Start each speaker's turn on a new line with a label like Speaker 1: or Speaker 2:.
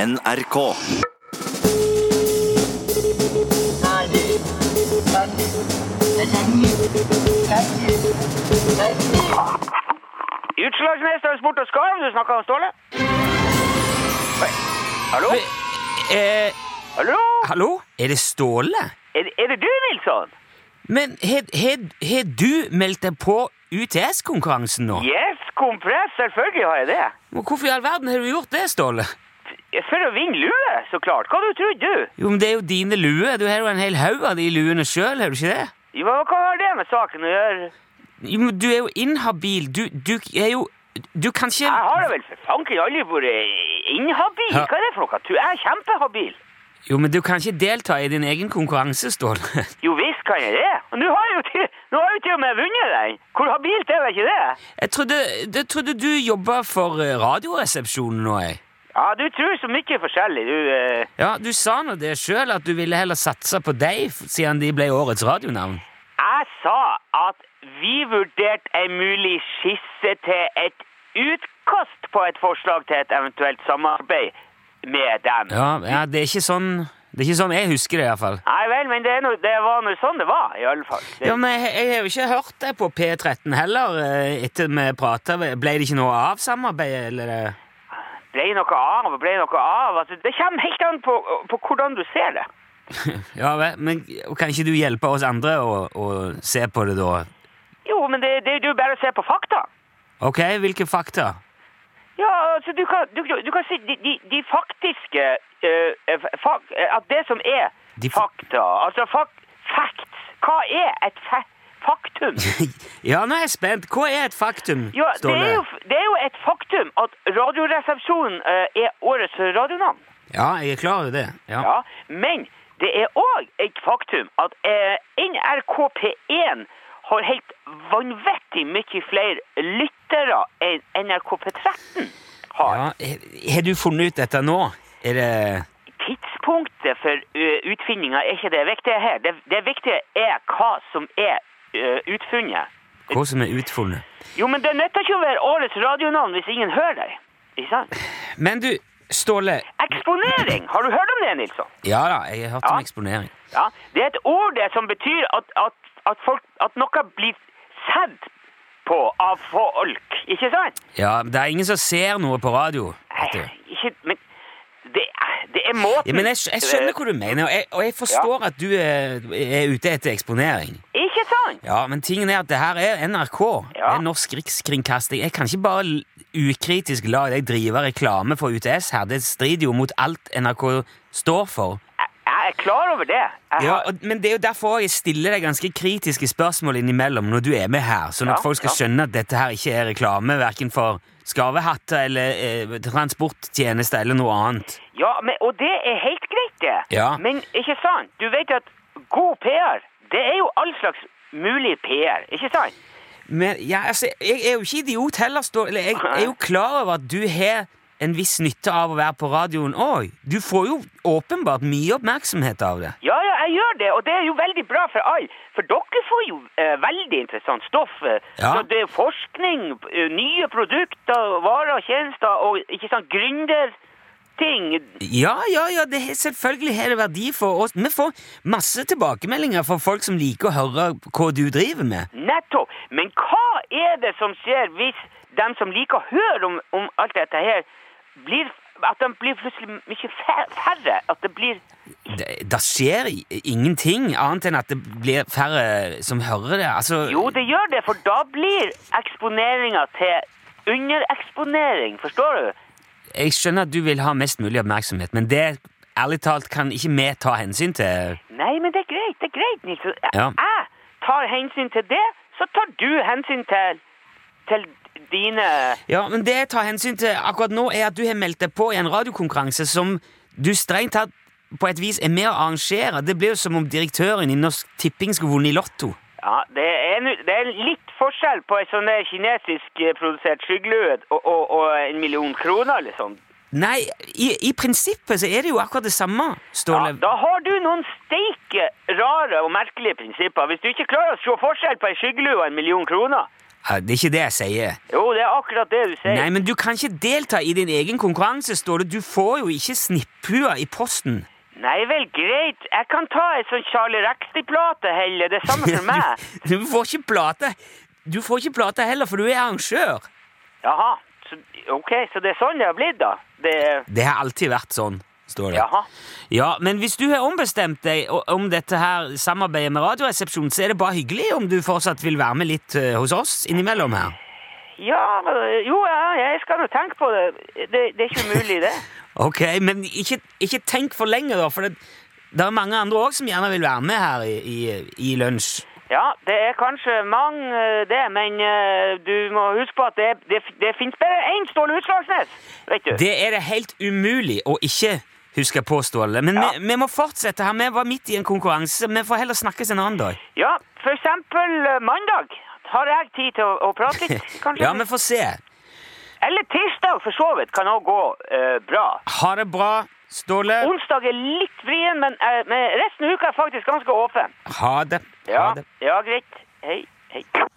Speaker 1: NRK.
Speaker 2: Utslagsmester Sport og Skarv, du snakker om Ståle? Oi, Hallo?
Speaker 3: Eh,
Speaker 2: Hallo?
Speaker 3: hallo? Er det Ståle?
Speaker 2: Er, det- er det du, Nilsson?
Speaker 3: Men har du meldt deg på UTS-konkurransen nå?
Speaker 2: Yes, kompress, selvfølgelig har jeg det.
Speaker 3: Men Hvorfor i all verden har du gjort det, Ståle?
Speaker 2: For å vinne lue, så klart. Hva du trodde du?
Speaker 3: Jo, men Det er jo dine luer. Du har jo en hel haug av de luene sjøl, har du ikke det?
Speaker 2: Jo, men Hva har det med saken å gjøre?
Speaker 3: Jo, men Du er jo inhabil. Du, du er jo Du kan ikke
Speaker 2: Jeg har da vel for fanken aldri vært eh, inhabil?
Speaker 3: Ja.
Speaker 2: Hva er det for noe? Tu- Jeg er kjempehabil.
Speaker 3: Jo, men du kan ikke delta i din egen konkurranse, Ståle.
Speaker 2: Jo visst kan jeg det. Og nå har jeg jo til, nå har jeg jo til og med vunnet den. Hvor habilt er vel ikke det?
Speaker 3: Jeg trodde, jeg trodde du jobba for eh, Radioresepsjonen nå, jeg.
Speaker 2: Ja, du tror så mye forskjellig, du. Eh.
Speaker 3: Ja, Du sa nå det sjøl, at du ville heller satse på deg, f- siden de ble årets radionavn.
Speaker 2: Jeg sa at vi vurderte en mulig skisse til et utkast på et forslag til et eventuelt samarbeid med dem.
Speaker 3: Ja, ja det, er ikke sånn, det er ikke sånn jeg husker det, iallfall.
Speaker 2: Nei vel, men det, er noe, det var nå sånn det var, i alle fall. Det,
Speaker 3: Ja, men jeg, jeg har jo ikke hørt deg på P13 heller, eh, etter vi prata. Ble det ikke noe av samarbeidet, eller?
Speaker 2: ble noe av og ble noe av. Altså, det kommer helt an på, på hvordan du ser det.
Speaker 3: Ja vel, men kan ikke du hjelpe oss andre å, å se på det, da?
Speaker 2: Jo, men det, det er jo bare å se på fakta.
Speaker 3: Ok, hvilke fakta?
Speaker 2: Ja, altså, du kan, du, du kan si de, de, de faktiske eh, eh, fak, eh, At det som er
Speaker 3: De fa-
Speaker 2: fakta Altså fak, facts. Hva er et fa faktum?
Speaker 3: Ja, nå er jeg spent. Hva er et faktum,
Speaker 2: Ja, det
Speaker 3: Ståle?
Speaker 2: er, jo, det er jo et faktum at Radioresepsjonen eh, er årets radionavn.
Speaker 3: Ja, jeg er klar over det. Ja.
Speaker 2: Ja. Men det er òg et faktum at eh, NRK P1 har helt vanvittig mye flere lyttere enn NRK P13 har.
Speaker 3: Ja, he- Har du funnet ut dette nå? Er det
Speaker 2: Tidspunktet for uh, utfinninga er ikke det viktige her. Det, det viktige er hva som er eh, utfunnet.
Speaker 3: hva som er utfunnet?
Speaker 2: Jo, men det nytter ikke å være årets radionavn hvis ingen hører deg. Ikke sant?
Speaker 3: Men du, Ståle.
Speaker 2: Eksponering! Har du hørt om det, Nilsson?
Speaker 3: Ja da, jeg har hørt om
Speaker 2: Ja.
Speaker 3: eksponering.
Speaker 2: Ja, det er et ord det som betyr at, at, at, folk, at noe blir sett på av folk, ikke sant?
Speaker 3: Ja, Det er ingen som ser noe på radio. vet du.
Speaker 2: Nei, Ikke, men det, er- det er måten
Speaker 3: Ja, men jeg, skj- jeg skjønner hva du mener, og jeg, og jeg forstår at du er, er ute etter eksponering.
Speaker 2: Eh, Ikke sant?
Speaker 3: Ja, Men tingen er at det her er NRK. Det
Speaker 2: Ja.
Speaker 3: er Norsk Rikskringkasting. Jeg kan ikke bare l- ukritisk la deg drive reklame for UTS her. Det strider jo mot alt NRK står for.
Speaker 2: Jeg, jeg er klar over det. Jeg
Speaker 3: Ja,
Speaker 2: har-
Speaker 3: og, Men det er jo derfor jeg stiller deg ganske kritiske spørsmål innimellom når du er med her, sånn at
Speaker 2: Ja,
Speaker 3: folk skal
Speaker 2: ja.
Speaker 3: skjønne at dette her ikke er reklame, verken for skarvehatter eller eh, transporttjenester eller noe annet.
Speaker 2: Ja, men, og det er helt greit, det.
Speaker 3: Ja.
Speaker 2: Men ikke sant? Du vet at god PR, det er jo all slags mulig PR, ikke sant?
Speaker 3: Men ja, altså, jeg er jo ikke idiot heller, Stå. Eller, jeg er jo klar over at du har en viss nytte av å være på radioen òg. Du får jo åpenbart mye oppmerksomhet av det.
Speaker 2: Ja, ja, jeg gjør det, og det er jo veldig bra for alle. For dere får jo eh, veldig interessant stoff. eh.
Speaker 3: Ja.
Speaker 2: Så det er forskning, eh, nye produkter, varer og tjenester, og ikke sant, gründerting.
Speaker 3: Ja, ja, ja, det har- selvfølgelig har det verdi for oss. Vi får masse tilbakemeldinger fra folk som liker å høre hva du driver med.
Speaker 2: Nettopp. Men hva er det som skjer hvis de som liker å høre om, om alt dette her, blir, at de blir plutselig mye fær- færre? At det blir
Speaker 3: Det, det skjer i- ingenting annet enn at det blir færre som hører det. Altså,
Speaker 2: Jo, det gjør det, for da blir eksponeringa til undereksponering, forstår du?
Speaker 3: Jeg skjønner at du vil ha mest mulig oppmerksomhet, men det ærlig talt kan ikke vi ta hensyn til.
Speaker 2: Nei, men det er greit, det er greit, Nils. Jeg,
Speaker 3: Ja.
Speaker 2: jeg tar hensyn til det, så tar du hensyn til, til dine
Speaker 3: Ja, men det jeg tar hensyn til akkurat nå, er at du har meldt deg på i en radiokonkurranse som du strengt tatt på et vis er med å arrangere. Det blir jo som om direktøren i Norsk Tipping skulle vunnet i Lotto.
Speaker 2: Ja, det er, nu- det er litt forskjell på en sånn der kinesisk eh, produsert skyggelue og, og, og en million kroner, liksom.
Speaker 3: Nei, i, i prinsippet så er det jo akkurat det samme,
Speaker 2: Ja,
Speaker 3: Ståle.
Speaker 2: da har du noen steike rare og merkelige prinsipper hvis du ikke klarer å se forskjell på en skyggelue og en million kroner.
Speaker 3: Ja, Det er ikke det jeg sier.
Speaker 2: Jo, det er akkurat det du sier.
Speaker 3: Nei, men du kan ikke delta i din egen konkurranse, står det. Du får jo ikke snipphua i posten.
Speaker 2: Nei vel, greit. Jeg kan ta ei sånn Charlie Rexley-plate heller. Det er samme for meg.
Speaker 3: Du, du får ikke plate. Du får ikke plate heller, for du er arrangør.
Speaker 2: Jaha. Så, ok, så det er sånn det har blitt, da? Det er
Speaker 3: Det har alltid vært sånn, står det.
Speaker 2: Jaha.
Speaker 3: Ja, men hvis du har ombestemt deg o- om dette her samarbeidet med Radioresepsjonen, så er det bare hyggelig om du fortsatt vil være med litt eh, hos oss innimellom her.
Speaker 2: Ja, men- jo, ja, jeg skal nå tenke på det. Det, det er ikke umulig, det.
Speaker 3: Ok, men ikke, ikke tenk for lenge, da, for det, det er mange andre òg som gjerne vil være med her i, i, i lunsj.
Speaker 2: Ja, det er kanskje mange, eh, det, men eh, du må huske på at det, det, det finnes bare én Ståle Utslagsnes, vet du.
Speaker 3: Det er det helt umulig å ikke huske på, Ståle. Men
Speaker 2: Ja.
Speaker 3: vi, vi må fortsette her. Vi var midt i en konkurranse. Vi får heller snakkes en annen dag.
Speaker 2: Ja, for eksempel eh, mandag har jeg tid til å, å prate litt, kanskje.
Speaker 3: Ja, vi får se.
Speaker 2: Eller tirsdag, for så vidt, kan òg gå eh, bra.
Speaker 3: Ha det bra, Ståle.
Speaker 2: Onsdag er litt vrien, men, eh, men resten av uka er faktisk ganske åpen.
Speaker 3: Ha det. Ha
Speaker 2: Ja,
Speaker 3: det.
Speaker 2: ja greit. Hei, hei.